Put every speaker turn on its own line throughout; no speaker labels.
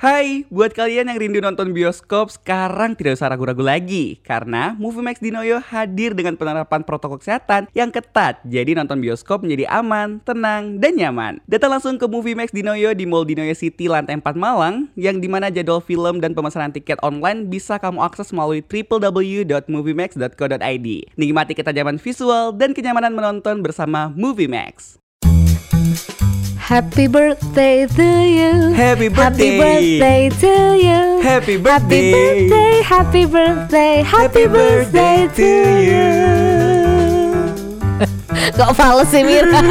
Hai, buat kalian yang rindu nonton bioskop, sekarang tidak usah ragu-ragu lagi. Karena Movie Max Dinoyo hadir dengan penerapan protokol kesehatan yang ketat. Jadi nonton bioskop menjadi aman, tenang, dan nyaman. Datang langsung ke Movie Max Dinoyo di Mall Dinoyo City lantai 4 Malang, yang dimana jadwal film dan pemesanan tiket online bisa kamu akses melalui www.moviemax.co.id. Nikmati ketajaman visual dan kenyamanan menonton bersama Movie Max.
Happy birthday to you.
Happy
Happy
birthday.
birthday to you.
Happy
Happy
birthday.
birthday, happy birthday, happy birthday to you. Kok fals sih Mira?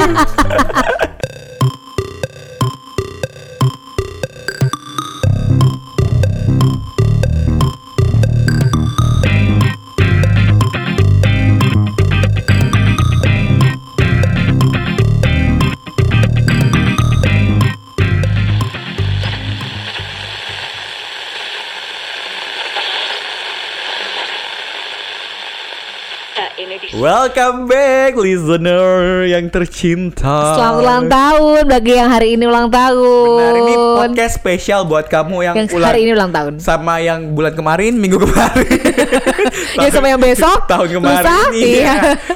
Welcome back listener yang tercinta.
Selamat ulang tahun bagi yang hari ini ulang tahun.
Benar, ini podcast spesial buat kamu yang,
yang
ulang
hari ini ulang tahun.
sama yang bulan kemarin, minggu kemarin.
Ya, sama yang besok,
tahun kemarin. ya.
lusa, iya.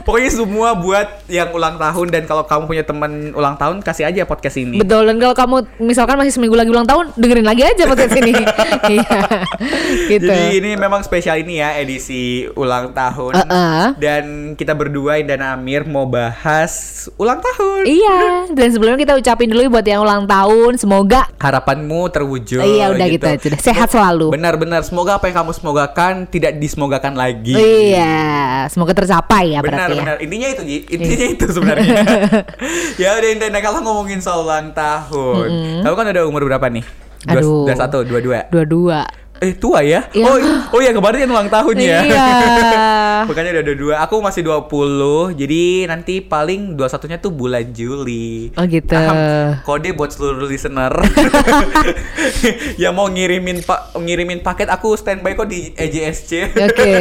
Pokoknya semua buat yang ulang tahun dan kalau kamu punya teman ulang tahun kasih aja podcast ini.
Betul dan kalau kamu misalkan masih seminggu lagi ulang tahun dengerin lagi aja podcast ini. Iya. gitu.
Jadi ini memang spesial ini ya edisi ulang tahun.
Uh-uh.
Dan kita berdua dan Amir mau bahas ulang tahun.
Iya, dan sebelumnya kita ucapin dulu buat yang ulang tahun, semoga
Harapanmu terwujud.
Iya, udah gitu aja deh. Sehat selalu.
Benar-benar. Semoga apa yang kamu semogakan tidak disemogakan lagi.
Iya, semoga tercapai ya
benar
berarti ya.
benar intinya itu Ji. intinya itu sebenarnya ya udah intinya kalau ngomongin soal ulang tahun kamu kan udah umur berapa nih dua,
Aduh.
dua satu dua dua
Dua-dua.
eh tua ya
Iya.
oh i- oh ya kemarin kan ulang tahun ya
Iya.
Bukannya udah dua dua aku masih 20 Jadi nanti paling dua satunya tuh bulan Juli
Oh, gitu.
Aham, Kode buat seluruh listener Yang mau ngirimin pak ngirimin paket Aku standby kok di E EJSC
Oke.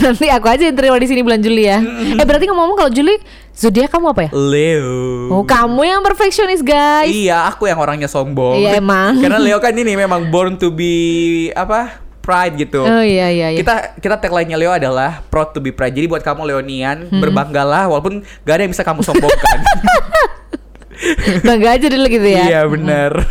Nanti aku aja yang terima di sini bulan Juli ya. Eh berarti ngomong-ngomong kalau Juli zodiak kamu apa ya?
Leo
Oh, kamu yang perfeksionis, guys.
Iya, aku yang orangnya sombong.
Iya, emang.
Karena Leo kan ini memang born to be apa? Pride gitu.
Oh iya iya iya.
Kita kita tagline-nya Leo adalah proud to be pride. Jadi buat kamu Leonian,
Hmm.
berbanggalah walaupun gak ada yang bisa kamu sombongkan.
Bangga aja dulu gitu ya.
Iya, benar.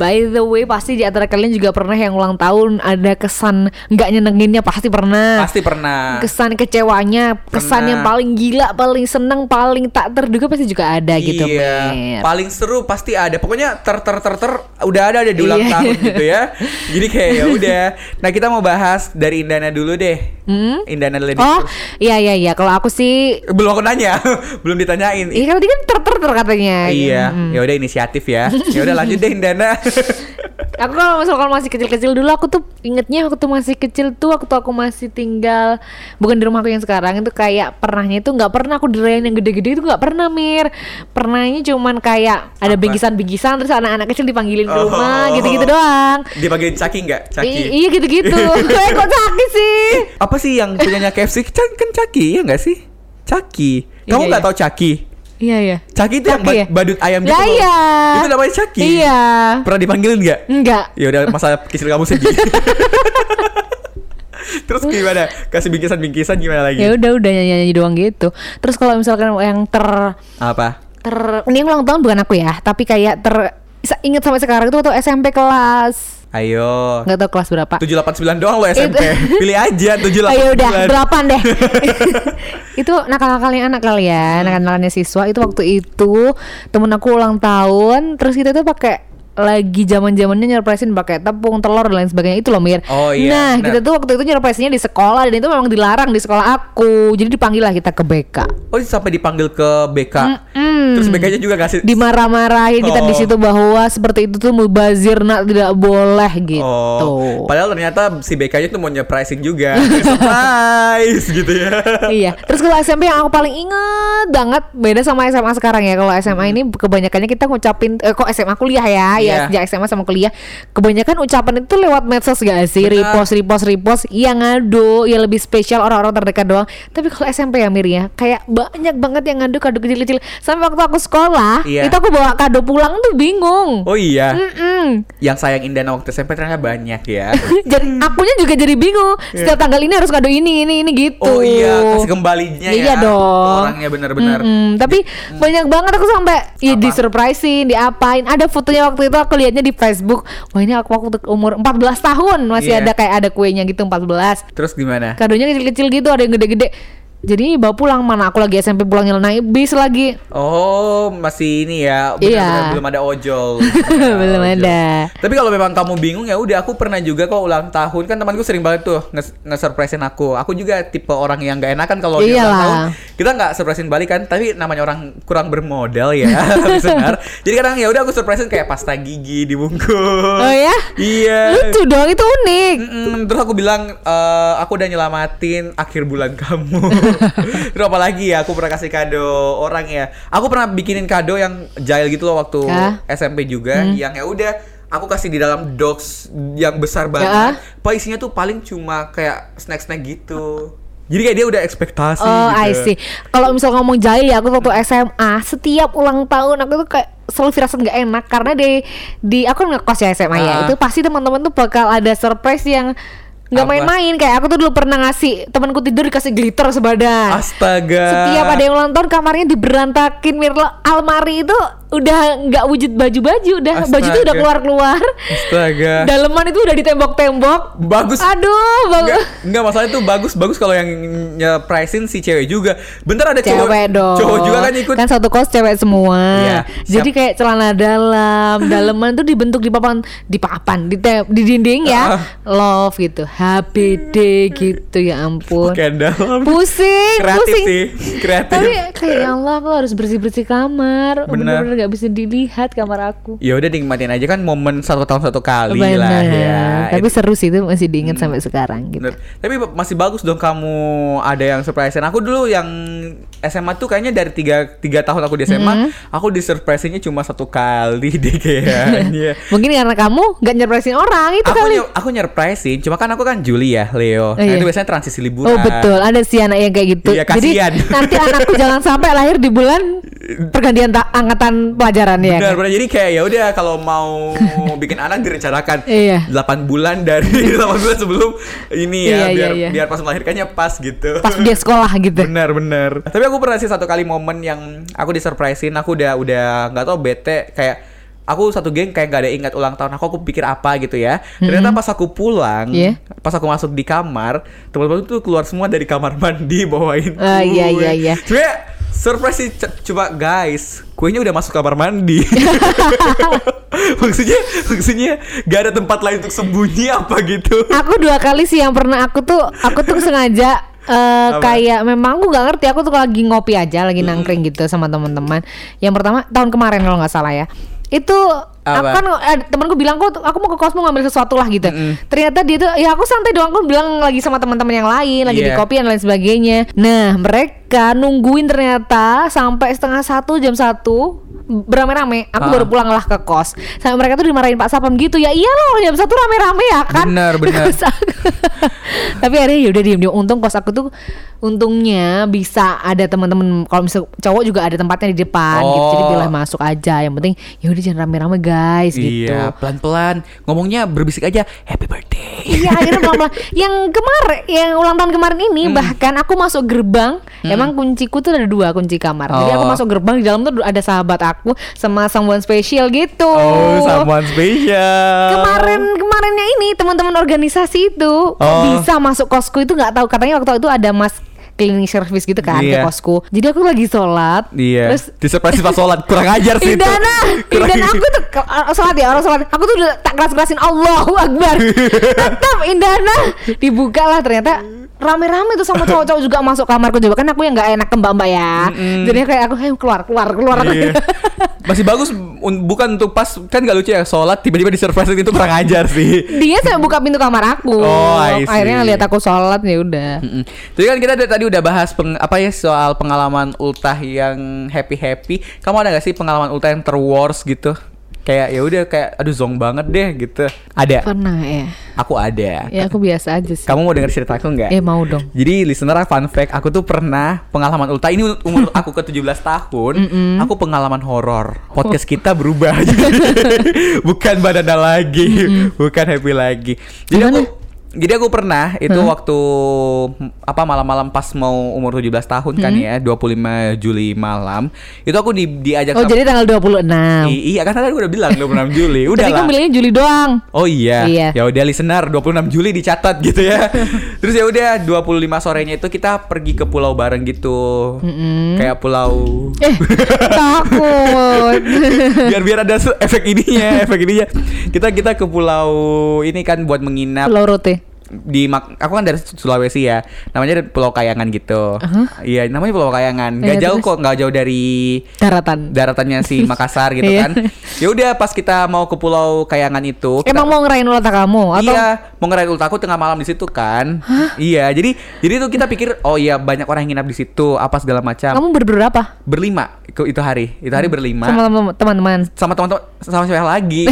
By the way, pasti di antara kalian juga pernah yang ulang tahun ada kesan nggak nyenenginnya pasti pernah.
Pasti pernah.
Kesan kecewanya, kesan
Pernah.
yang paling gila, paling seneng, paling tak terduga pasti juga ada gitu,
iya,
Mir.
paling seru pasti ada. Pokoknya ter ter ter ter udah ada ada di ulang
Iya.
tahun gitu ya. Jadi kayak ya udah. Nah, kita mau bahas dari Indana dulu deh. Indana Lady.
Oh, iya iya iya. Kalau aku sih
Belum aku nanya, belum ditanyain.
Iya Hmm. kan tadi kan ter ter ter katanya.
Iya, ya udah inisiatif ya. Ya udah lanjut deh Indana.
Aku kalau misalkan masih kecil-kecil dulu aku tuh ingetnya waktu masih kecil tuh waktu aku masih tinggal bukan di rumah aku yang sekarang itu kayak pernahnya itu nggak pernah aku dirayain yang gede-gede itu nggak pernah Mir. Pernahnya cuman kayak ada bingkisan-bingkisan terus anak-anak kecil dipanggilin ke
Oh.
rumah gitu-gitu doang.
Dipanggilin Caki nggak?
I-
Caki.
iya gitu-gitu. Eh, kok sakit sih?
Apa sih yang punyanya KFC? Can- kan Caki ya nggak sih? Caki. Kamu
Iya,
nggak
iya.
tahu Caki?
Iya ya.
Caki itu yang ba-
Caki ya?
badut ayam gitu.
Lah
loh.
iya.
Itu namanya Caki.
Iya.
Pernah dipanggilin nggak?
Enggak.
Ya udah masa kecil kamu sedih. Terus gimana? Kasih bingkisan-bingkisan gimana lagi?
Ya udah udah nyanyi-nyanyi doang gitu. Terus kalau misalkan yang ter
Apa?
ter ini yang ulang tahun bukan aku ya tapi kayak ter sa- ingat sampai sekarang itu waktu SMP kelas
Ayo.
nggak tahu kelas berapa
789 doang lo SMP. Pilih aja 789.
ayo udah delapan deh itu nakal-nakalnya anak
Hmm.
kali ya nakal-nakalnya siswa itu waktu itu temen aku ulang tahun terus kita tuh pakai lagi zaman zamannya nyerpresin pakai tepung telur dan lain sebagainya itu loh mir
Oh, iya,
nah
benar.
kita tuh waktu itu nyerpresinnya di sekolah dan itu memang dilarang di sekolah aku jadi dipanggil lah kita ke BK
Oh sampai dipanggil ke BK.
Mm-mm.
Terus BK-nya juga kasih
dimarah-marahin kita di
Oh.
situ bahwa seperti itu tuh mubazir nak tidak boleh gitu.
Oh, padahal ternyata si BK-nya tuh mau surprising juga. Surprise gitu ya.
iya. Terus kalau SMP yang aku paling inget banget beda sama SMA sekarang ya. Kalau SMA ini kebanyakannya kita ngucapin eh, kok SMA kuliah ya, ya ya
Hmm. Iya.
sejak SMA sama kuliah kebanyakan ucapan itu lewat medsos gak sih
Benar.
repost repost repost yang ngadu ya lebih spesial orang-orang terdekat doang tapi kalau SMP ya Mir ya kayak banyak banget yang ngadu kado kecil-kecil sampai waktu aku sekolah
Iya.
itu aku bawa kado pulang tuh bingung
Oh iya,
Mm. Mm-mm.
yang sayang Indana waktu SMP ternyata banyak ya.
jadi akunya juga jadi bingung setiap tanggal ini harus kado ini ini ini
Iya.
gitu
Oh iya, kasih kembalinya
Iya
ya.
dong.
Orangnya benar-benar. mm.
Mm-mm. tapi banyak banget aku sampai ya
Apa?
di surprisein diapain ada fotonya waktu itu aku lihatnya di Facebook wah ini aku waktu umur 14 tahun masih
Iya.
ada kayak ada kuenya gitu 14
Terus gimana?
kadonya kecil-kecil gitu ada yang gede-gede jadi bawa pulang mana aku lagi SMP pulangnya naik bis lagi
Oh, masih ini ya. benar-benar
Iya.
Belum ada ojol.
Belum
Ojol.
ada.
Tapi kalau memang kamu bingung ya udah aku pernah juga kok ulang tahun kan temanku sering banget tuh nge- nge-surprisein aku. Aku juga tipe orang yang nggak enakan kalau dia ulang
Iyalah.
tahun. Kita nggak surprisein balik kan, tapi namanya orang kurang bermodal ya, benar. Jadi kadang ya udah aku surprisein kayak pasta gigi dibungkus.
oh ya
Iya.
lucu dong itu unik
Mm-mm, terus aku bilang "Eh, aku udah nyelamatin akhir bulan kamu. terus apa lagi ya? Aku pernah kasih kado orang ya. Aku pernah bikinin kado yang jahil gitu loh waktu
Ya.
SMP juga yang ya udah aku kasih di dalam dogs yang besar banget. Pak isinya tuh paling cuma kayak snack-snack gitu. Jadi kayak dia udah ekspektasi
Oh,
gitu.
I see. Kalau misal ngomong jahil ya, aku waktu SMA setiap ulang tahun aku tuh kayak selalu firasat nggak enak karena di di aku ngekos ya SMA ya.
Ah.
Itu pasti teman-teman tuh bakal ada surprise yang nggak
Apa?
main-main kayak aku tuh dulu pernah ngasih temanku tidur dikasih glitter sebadan.
Astaga.
Setiap ada yang ulang tahun kamarnya diberantakin Mirlo almari itu udah nggak wujud baju-baju udah baju tuh udah
Astaga.
keluar-keluar.
Astaga.
Daleman itu udah di tembok-tembok.
Bagus
Aduh, bagus.
Enggak, enggak masalah itu bagus bagus kalau yang nyeprisin si cewek juga. Bentar ada cowok,
cewek dong
cowok juga kan ikut.
kan satu kos cewek semua
Iya,
jadi
siap.
kayak celana dalam daleman tuh dibentuk di papan di papan di, te- di dinding ya love gitu HBD gitu ya ampun
Bukan dalam.
pusing
Kreatif
pusing
sih, Eh, iya. kreatif.
tapi kayak ya Allah aku harus bersih bersih kamar
Bener.
bener-bener nggak bisa dilihat kamar aku
Ya udah nikmatin aja kan momen satu tahun satu kali lah
Bener.
ya. Itu
tapi
Hmm.
seru sih itu masih diingat sampai sekarang gitu
bener. Tapi masih bagus dong kamu ada yang surprisein. Aku dulu yang SMA tuh kayaknya dari tiga, tiga tahun aku di SMA,
Mm-hmm.
aku di surprisinnya cuma satu kali deh kayaknya.
mungkin karena kamu nggak nyerpresin orang itu
aku
kali
nye- aku nyerpresin, cuma kan aku kan Juli ya, Leo. Nah,
iya.
itu biasanya transisi liburan.
Oh betul, ada sih anak yang kayak gitu.
Iya,
Jadi
kasihan.
nanti anakku jangan sampai lahir di bulan pergantian ta- angkatan pelajaran ya.
Benar,
kan?
benar. Jadi kayak ya udah kalau mau bikin anak direncanakan
Iya.
8 bulan dari 8 bulan sebelum ini ya
Iya,
biar
iya, iya.
biar pas melahirkannya pas gitu.
Pas dia sekolah gitu.
Benar, benar. Tapi aku pernah sih satu kali momen yang aku disurprisein, aku udah udah nggak tahu bete kayak aku satu geng kayak nggak ada ingat ulang tahun aku, aku pikir apa gitu ya. Ternyata pas aku pulang,
Hmm. Iya.
pas aku masuk di kamar, teman-teman tuh keluar semua dari kamar mandi bawain
Ah, iya,
kue.
iya, iya.
Sebenarnya surprise sih c- coba guys, kuenya udah masuk kamar mandi. maksudnya maksudnya gak ada tempat lain untuk sembunyi apa gitu.
Aku dua kali sih yang pernah aku tuh aku tuh sengaja eh,
Apa?
kayak memang aku nggak ngerti aku tuh lagi ngopi aja lagi nangkring gitu sama teman-teman. Yang pertama tahun kemarin kalau nggak salah ya. Itu aku
Apa?
kan eh, temanku bilang kok aku mau ke kos mau ngambil sesuatu lah gitu. Ternyata dia tuh ya aku santai doang aku bilang lagi sama teman-teman yang lain lagi di
Iya.
kopi dan lain sebagainya. Nah mereka nungguin ternyata sampai setengah satu jam satu beramai-ramai. Aku
Ah.
baru pulang lah ke kos. Sampai mereka tuh dimarahin Pak Sapam gitu. Ya iyalah jam satu rame-rame ya kan
Benar, benar.
Kos aku. tapi akhirnya yaudah diem diem untung kos aku tuh untungnya bisa ada teman-teman kalau misal cowok juga ada tempatnya di depan gitu jadi
Oh.
boleh masuk aja yang penting yaudah jangan rame-rame guys gitu
Iya, pelan-pelan ngomongnya berbisik aja happy birthday.
Iya akhirnya pelan-pelan Yang kemarin Yang ulang tahun kemarin ini
Hmm.
Bahkan aku masuk gerbang Emang kunciku tuh ada dua kunci kamar Jadi aku
Oh.
masuk gerbang Di dalam tuh ada sahabat aku Sama someone special gitu
Oh, someone special.
kemarin kemarinnya ini teman-teman organisasi itu kok
Oh.
bisa masuk kosku itu nggak tahu katanya waktu itu ada mas cleaning service gitu kan
Iya.
ke kosku jadi aku lagi sholat
Iya.
terus
disurprisein pas sholat kurang ajar sih itu.
Indana,
Kurang-
Indana aku tuh ke- orang sholat ya orang sholat. Aku tuh udah tak keras-kerasin Allahu Akbar. Tetap Indana dibuka lah ternyata rame-rame tuh sama cowok-cowok juga masuk kamarku juga kan aku yang nggak enak ke mbak-mbak ya. Jadi kayak aku "Hey, keluar keluar keluar.
Iya. Masih bagus un- bukan untuk pas kan gak lucu ya sholat tiba-tiba disurprisein itu kurang ajar sih.
Dia saya buka pintu kamar aku.
Oh, I see.
Akhirnya lihat aku sholat ya udah.
Mm-mm. Jadi kan kita dari tadi udah bahas peng- apa ya soal pengalaman ultah yang happy happy. Kamu ada gak sih pengalaman ultah yang terwars gitu? kayak ya udah kayak aduh zong banget deh gitu. Ada,
Pernah ya.
aku ada.
Ya aku biasa aja sih.
Kamu mau denger cerita aku nggak?
Eh mau dong.
Jadi listener fun fact, aku tuh pernah pengalaman ulta ini umur aku ke 17 tahun, aku pengalaman horor. Podcast kita berubah. Jadi, bukan badana lagi, bukan happy lagi. Jadi aku jadi aku pernah itu waktu apa malam-malam pas mau umur 17 tahun kan ya, 25 Juli malam. Itu aku di, diajak
Oh
sama-
jadi tanggal 26.
I- Iya, kan tadi aku udah bilang 26 Juli. Udah
Tadi kamu bilangnya Juli doang.
Oh iya.
Iya.
Ya udah listener 26 Juli dicatat gitu ya. Terus ya udah 25 sorenya itu kita pergi ke pulau bareng gitu. Kayak pulau
Eh, takut.
biar biar ada se- efek ininya, efek ininya. Kita kita ke pulau ini kan buat menginap
Pulau Rote.
di mak aku kan dari Sulawesi ya. Namanya Pulau Kayangan gitu. Iya, namanya Pulau Kayangan. Gak
Uh-huh. Iya,
jauh
terus?
kok, gak jauh dari
Daratan.
daratannya si Makassar gitu
Iya.
kan. Ya udah pas kita mau ke Pulau Kayangan itu, kita-
Emang mau ngerayain ulang tahun kamu atau
Iya, mau ngerayain ultahku tengah malam di situ kan. Iya, jadi jadi itu kita pikir oh iya banyak orang yang nginap di situ apa segala macam.
kamu berberapa?
Berlima itu, itu hari. Itu hari berlima
Sama teman- teman-teman.
sama teman-teman sama siapa lagi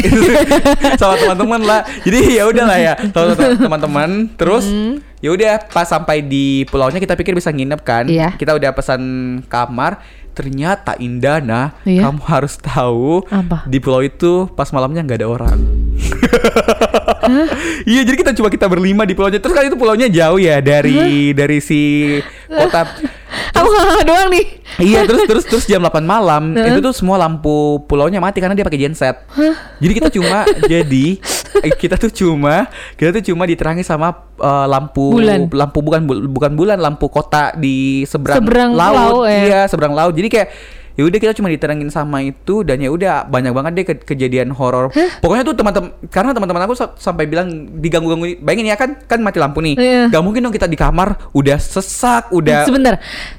sama teman-teman lah jadi ya udahlah ya sama teman-teman terus
Hmm.
ya udah pas sampai di pulaunya kita pikir bisa nginep kan
Iya.
kita udah pesan kamar ternyata Indana
Iya.
kamu harus tahu
Apa?
di pulau itu pas malamnya nggak ada orang Iya jadi kita coba kita berlima di pulaunya terus kan itu pulaunya jauh ya dari dari si kota
Aku nggak doang nih.
Iya terus terus terus jam 8 malam itu tuh semua lampu pulaunya mati karena dia pakai genset. Jadi kita cuma jadi eh, kita tuh cuma kita tuh cuma diterangi sama eh, lampu
Bulan.
lampu bukan bul- bukan bulan lampu kota di seberang,
Seberang laut, ya.
Iya seberang laut. Jadi kayak ya udah kita cuma diterangin sama itu dan ya udah banyak banget deh ke- kejadian horor. Pokoknya tuh teman-teman karena teman-teman aku sa- sampai bilang diganggu-ganggu. Bayangin ya kan kan mati lampu nih.
Iya.
Gak mungkin dong kita di kamar udah sesak, udah
Sebentar.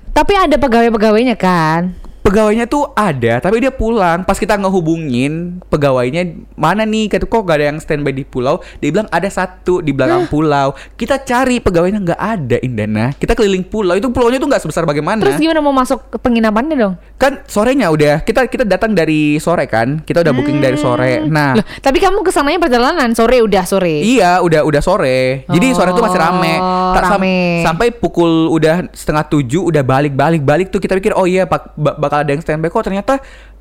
Tapi ada pegawai-pegawainya kan?
pegawainya tuh ada tapi dia pulang pas kita ngehubungin pegawainya mana nih kata kok gak ada yang standby di pulau dia bilang ada satu di belakang pulau kita cari pegawainya nggak ada Indana kita keliling pulau itu pulaunya tuh nggak sebesar bagaimana
Terus gimana mau masuk ke penginapannya dong?
kan sorenya udah kita kita datang dari sore kan kita udah booking dari sore nah
Loh, tapi kamu kesananya perjalanan sore udah sore.
Iya, udah udah sore. Jadi sore tuh masih rame. sam-
Oh, rame.
sampai pukul udah setengah tujuh udah balik balik balik tuh kita pikir oh iya bak- ba- bakal ada yang standby kok ternyata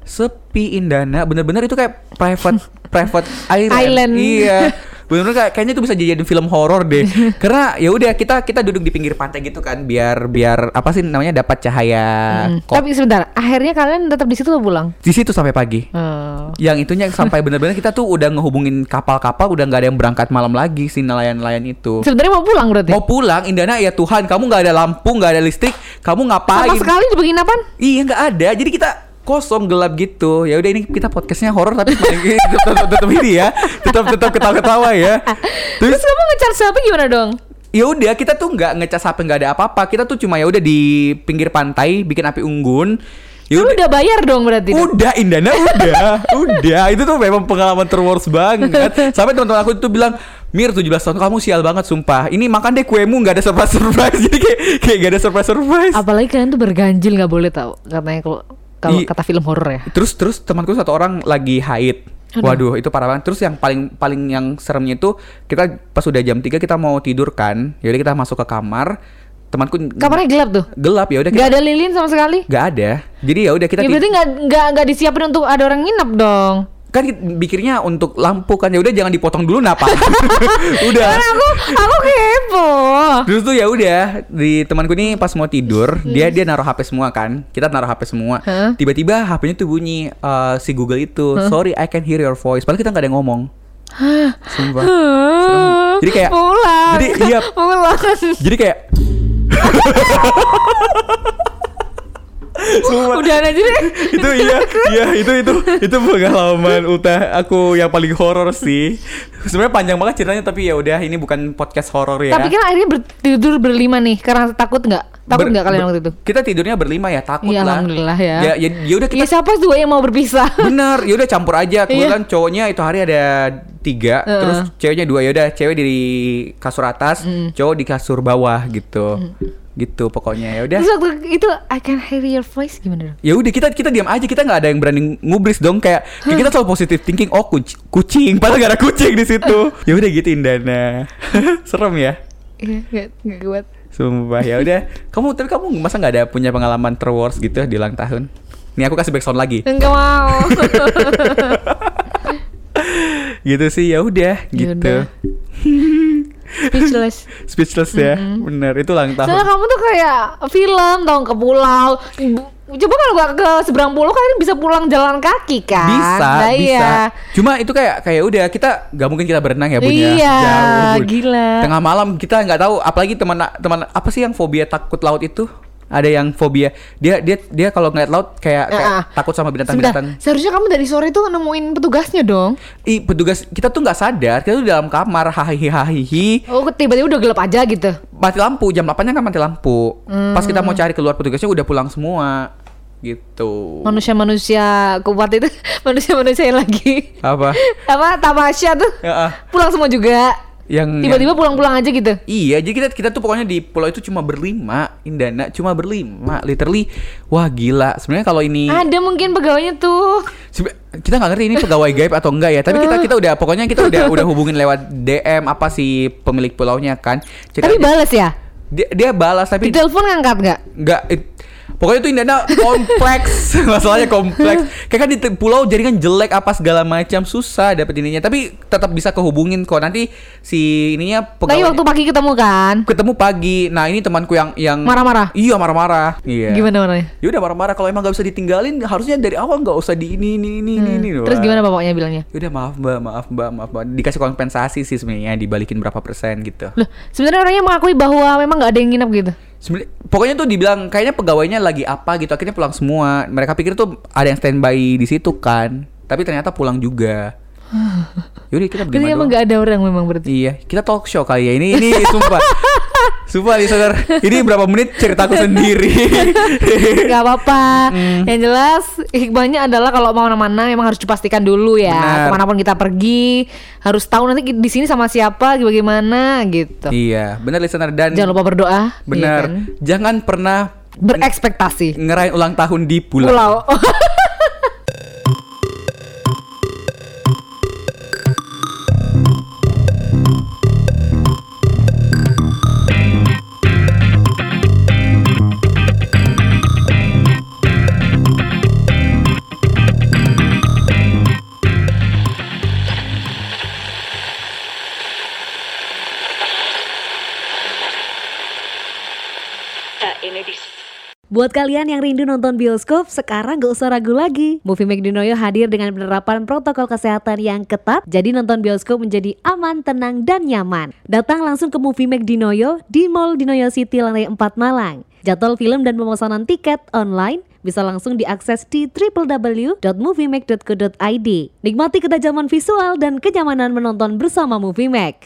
sepi Indana bener-bener itu kayak private private island.
Island.
Iya. Bener-bener kayak, kayaknya itu bisa jadi film horor deh. Karena ya udah kita kita duduk di pinggir pantai gitu kan biar biar apa sih namanya dapat cahaya
Hmm.
kok.
Tapi sebentar, akhirnya kalian tetap di situ atau pulang?
Di situ sampai pagi.
Oh.
Yang itunya sampai bener-bener kita tuh udah ngehubungin kapal-kapal udah nggak ada yang berangkat malam lagi si nelayan-nelayan itu.
Sebenarnya mau pulang berarti?
Mau pulang, Indana ya Tuhan, kamu nggak ada lampu, nggak ada listrik, kamu ngapain?
Sama sekali di penginapan?
Iya nggak ada, jadi kita kosong gelap gitu. Ya udah ini kita podcastnya horor tapi tetap tetap ini ya, tetap tetap ketawa-ketawa ya. Terus
Terus kamu ngecharge HP gimana dong?
ya udah kita tuh nggak ngecas HP nggak ada apa-apa, kita tuh cuma ya udah di pinggir pantai bikin api unggun. Ya
Kamu
udah,
udah bayar dong berarti? dong?
udah Indana udah, udah itu tuh memang pengalaman terworst banget. Sampai teman-teman aku tuh bilang Mir 17 tahun kamu sial banget sumpah. Ini makan deh kuemu nggak ada surprise surprise. Jadi kayak kayak gak ada surprise surprise.
Apalagi kalian tuh berganjil nggak boleh tahu katanya kalau kalau
I-
kata film horor ya.
Terus terus temanku satu orang lagi haid. Waduh, itu parah banget. Terus yang paling paling yang seremnya itu kita pas udah jam 3 kita mau tidur kan. Yaudah kita masuk ke kamar. Temanku
Kamarnya gelap tuh.
gelap ya udah kita
Gak ada lilin sama sekali.
nggak ada. Jadi ya udah kita
ya
ti-
berarti nggak nggak nggak disiapin untuk ada orang nginep dong.
kan kita pikirnya untuk lampu kan ya udah jangan dipotong dulu napa. udah.
Karena aku aku kepo.
Terus tuh ya udah di temanku ini pas mau tidur
Hmm.
dia dia naruh HP semua kan kita naruh HP semua
Hah?
tiba-tiba HP-nya tuh bunyi eh, si Google itu sorry I can hear your voice padahal kita nggak ada yang ngomong sumpah Jadi kayak-
pulang.
jadi iya.
pulang.
jadi kayak Sumpah,
Udah aja deh.
itu iya iya itu itu itu pengalaman utah aku yang paling horor sih sebenarnya panjang banget ceritanya tapi ya udah ini bukan podcast horor ya
Tapi kan akhirnya ber- tidur berlima nih karena takut nggak? Takut
Ber-
nggak kalian
ber-
waktu itu?
kita tidurnya berlima ya takut
Iya,
lah
alhamdulillah ya.
ya ya, ya udah kita
Ya siapa juga yang mau berpisah?
Bener, yaudah campur aja. Kebetulan cowoknya itu hari ada tiga,
Iya. Heeh.
terus Ya
Hmm.
ceweknya dua. Yaudah, cewek di kasur atas, cowok di kasur bawah gitu. gitu pokoknya ya udah
Terus waktu itu I can hear your voice gimana dong?
ya udah kita kita diam aja kita nggak ada yang berani ngubris dong kayak, kayak kita selalu positive thinking oh kuc- kucing padahal gak ada kucing di situ
Eh.
ya udah gitu Indana serem ya
Iya, nggak nggak kuat.
Sumpah ya udah. Kamu tapi kamu masa nggak ada punya pengalaman terwars gitu di ulang tahun? Nih aku kasih backsound lagi.
Enggak mau.
gitu sih ya udah
Ya
gitu.
udah. Speechless.
Speechless ya. Bener itu ulang
Soalnya kan,
tahun.
kamu tuh kayak film dong ke pulau. Bu- Coba kalau gak ke seberang pulau kan bisa pulang jalan kaki kan?
Bisa,
Nah,
bisa.
iya.
Cuma itu kayak kayak udah kita nggak mungkin kita berenang ya punya
Iya,
jauh. Bun.
gila.
Tengah malam kita nggak tahu apalagi teman teman apa sih yang fobia takut laut itu? Ada yang fobia dia dia dia kalau ngeliat laut kayak, kayak
Ah, ah.
takut sama
Sebentar,
binatang-binatang.
seharusnya kamu dari sore tuh nemuin petugasnya dong.
Ih, petugas kita tuh nggak sadar, kita tuh dalam kamar hahihi hahihi.
Oh, tiba-tiba udah gelap aja gitu.
mati lampu jam 8 nya kan mati lampu pas kita
Hmm.
mau cari keluar petugasnya udah pulang semua gitu
Manusia-manusia kuat itu, manusia-manusia yang lagi
apa
apa tamasya tuh
Ya, ah.
pulang semua juga.
yang
Tiba-tiba pulang-pulang aja gitu.
yang- iya jadi kita kita tuh pokoknya di pulau itu cuma berlima Indana cuma berlima literally wah gila sebenarnya kalau ini
Ada mungkin pegawainya tuh.
Sebe- kita nggak ngerti ini pegawai gaib atau enggak ya tapi kita kita udah pokoknya kita udah udah hubungin lewat DM apa si pemilik pulaunya kan Cek aja.
Tapi balas ya?
dia, dia balas tapi
Di telepon ngangkat nggak?
nggak it- pokoknya itu Indana kompleks masalahnya kompleks kayak kan di te- pulau jaringan jelek apa segala macam susah dapet ininya tapi tetap bisa kehubungin kok nanti si ininya
Tapi
pegawai
waktu pagi ketemu kan?
ketemu pagi nah ini temanku yang yang
Marah-marah?
iya marah-marah iya
Gimana warnanya?
ya udah marah-marah kalau emang nggak bisa ditinggalin harusnya dari awal nggak usah di ini ini ini ini, ini
Hmm. Terus gimana bapaknya bilangnya?
udah maaf mbak maaf mbak maaf mbak dikasih kompensasi sih sebenarnya dibalikin berapa persen gitu
Loh, sebenarnya orangnya mengakui bahwa memang nggak ada yang nginep gitu.
Sebenernya, pokoknya tuh dibilang kayaknya pegawainya lagi apa gitu akhirnya pulang semua mereka pikir tuh ada yang standby di situ kan tapi ternyata pulang juga yaudah kita
Jadi
berlima
emang
doang
nggak ada orang memang berarti.
iya kita talk show kali ya ini ini sumpah sumpah listener ini berapa menit ceritaku sendiri Hmm.
Gak apa-apa. Yang jelas hikmahnya adalah kalau mau mana-mana memang harus dipastikan dulu ya.
Benar.
Kemanapun kita pergi harus tahu nanti di sini sama siapa, bagaimana gitu.
iya benar listener dan
Jangan lupa berdoa.
benar
iya kan?
jangan pernah
Berekspektasi.
ngerayain ulang tahun di pulau
Pulau.
Buat kalian yang rindu nonton bioskop, sekarang gak usah ragu lagi. Movie Make Dinoyo hadir dengan penerapan protokol kesehatan yang ketat, jadi nonton bioskop menjadi aman, tenang, dan nyaman. Datang langsung ke Movie Make Dinoyo di Mall Dinoyo City lantai 4 Malang. Jadwal film dan pemesanan tiket online bisa langsung diakses di www.moviemake.co.id. Nikmati ketajaman visual dan kenyamanan menonton bersama Movie Make.